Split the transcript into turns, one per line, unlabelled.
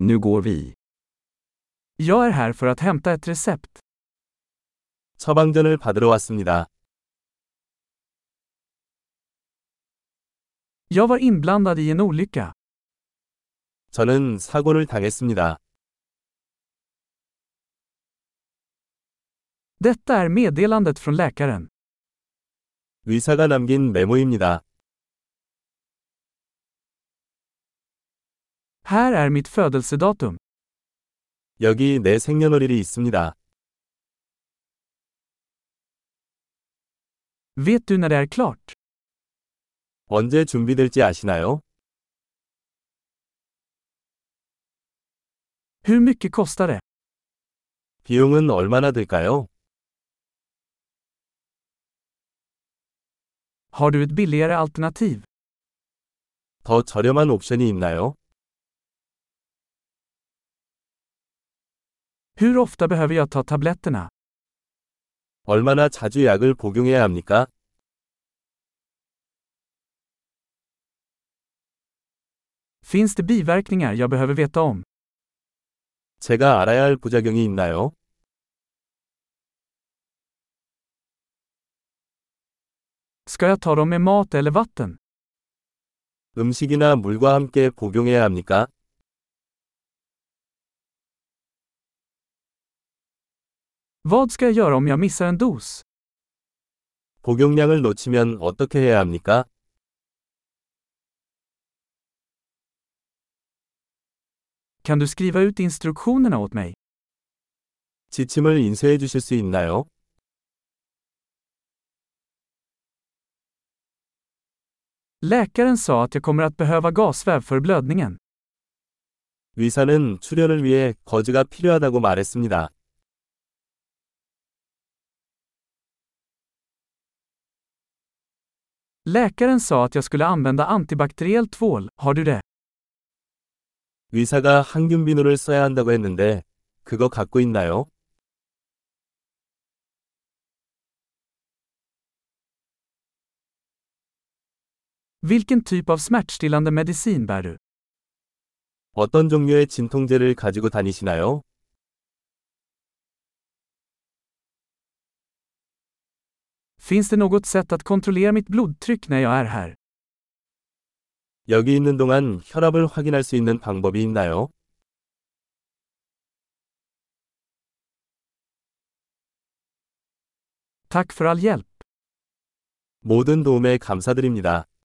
Nu går vi.
Jag är här för att hämta ett recept.
처방전을 받으러 왔습니다.
Jag var inblandad i en olycka.
저는 사고를 당했습니다.
Detta är meddelandet från läkaren.
의사가 남긴 메모입니다.
Här är mitt födelsedatum.
여기 내 생년월일이 있습니다.
Vet du när det är klart?
언제 준비될지 아시나요?
Hur mycket kostar det?
비용은 얼마나 들까요?
Har du ett billigare alternativ?
더 저렴한 옵션이 있나요?
Hur ofta behöver jag ta tabletterna?
얼마나 자주 약을 복용해야 합니까?
Finns det biverkningar jag behöver veta om?
제가 알아야 할 부작용이 있나요?
Ska jag ta dem med mat eller vatten?
음식이나 물과 함께 복용해야 합니까?
Vad ska jag göra om jag missar en dos?
복용량을 놓치면 어떻게 해야 합니까?
Kan du skriva ut instruktionerna åt mig?
지침을 인쇄해 주실 수 있나요?
Läkaren sa att jag kommer att behöva gasväv för blödningen.
의사는 출혈을 위해 거즈가 필요하다고 말했습니다.
Läkaren sa att jag skulle använda antibakteriell tvål, har du det?
의사가 항균 비누를 써야 한다고 했는데 그거 갖고 있나요?
Vilken typ av smärtstillande medicin bär du?
어떤 종류의 진통제를 가지고 다니시나요?
Finns det något sätt att kontrollera mitt blodtryck när jag är här?
여기 있는 동안 혈압을 확인할 수 있는 방법이 있나요?
Tack för all hjälp.
모든 도움에 감사드립니다.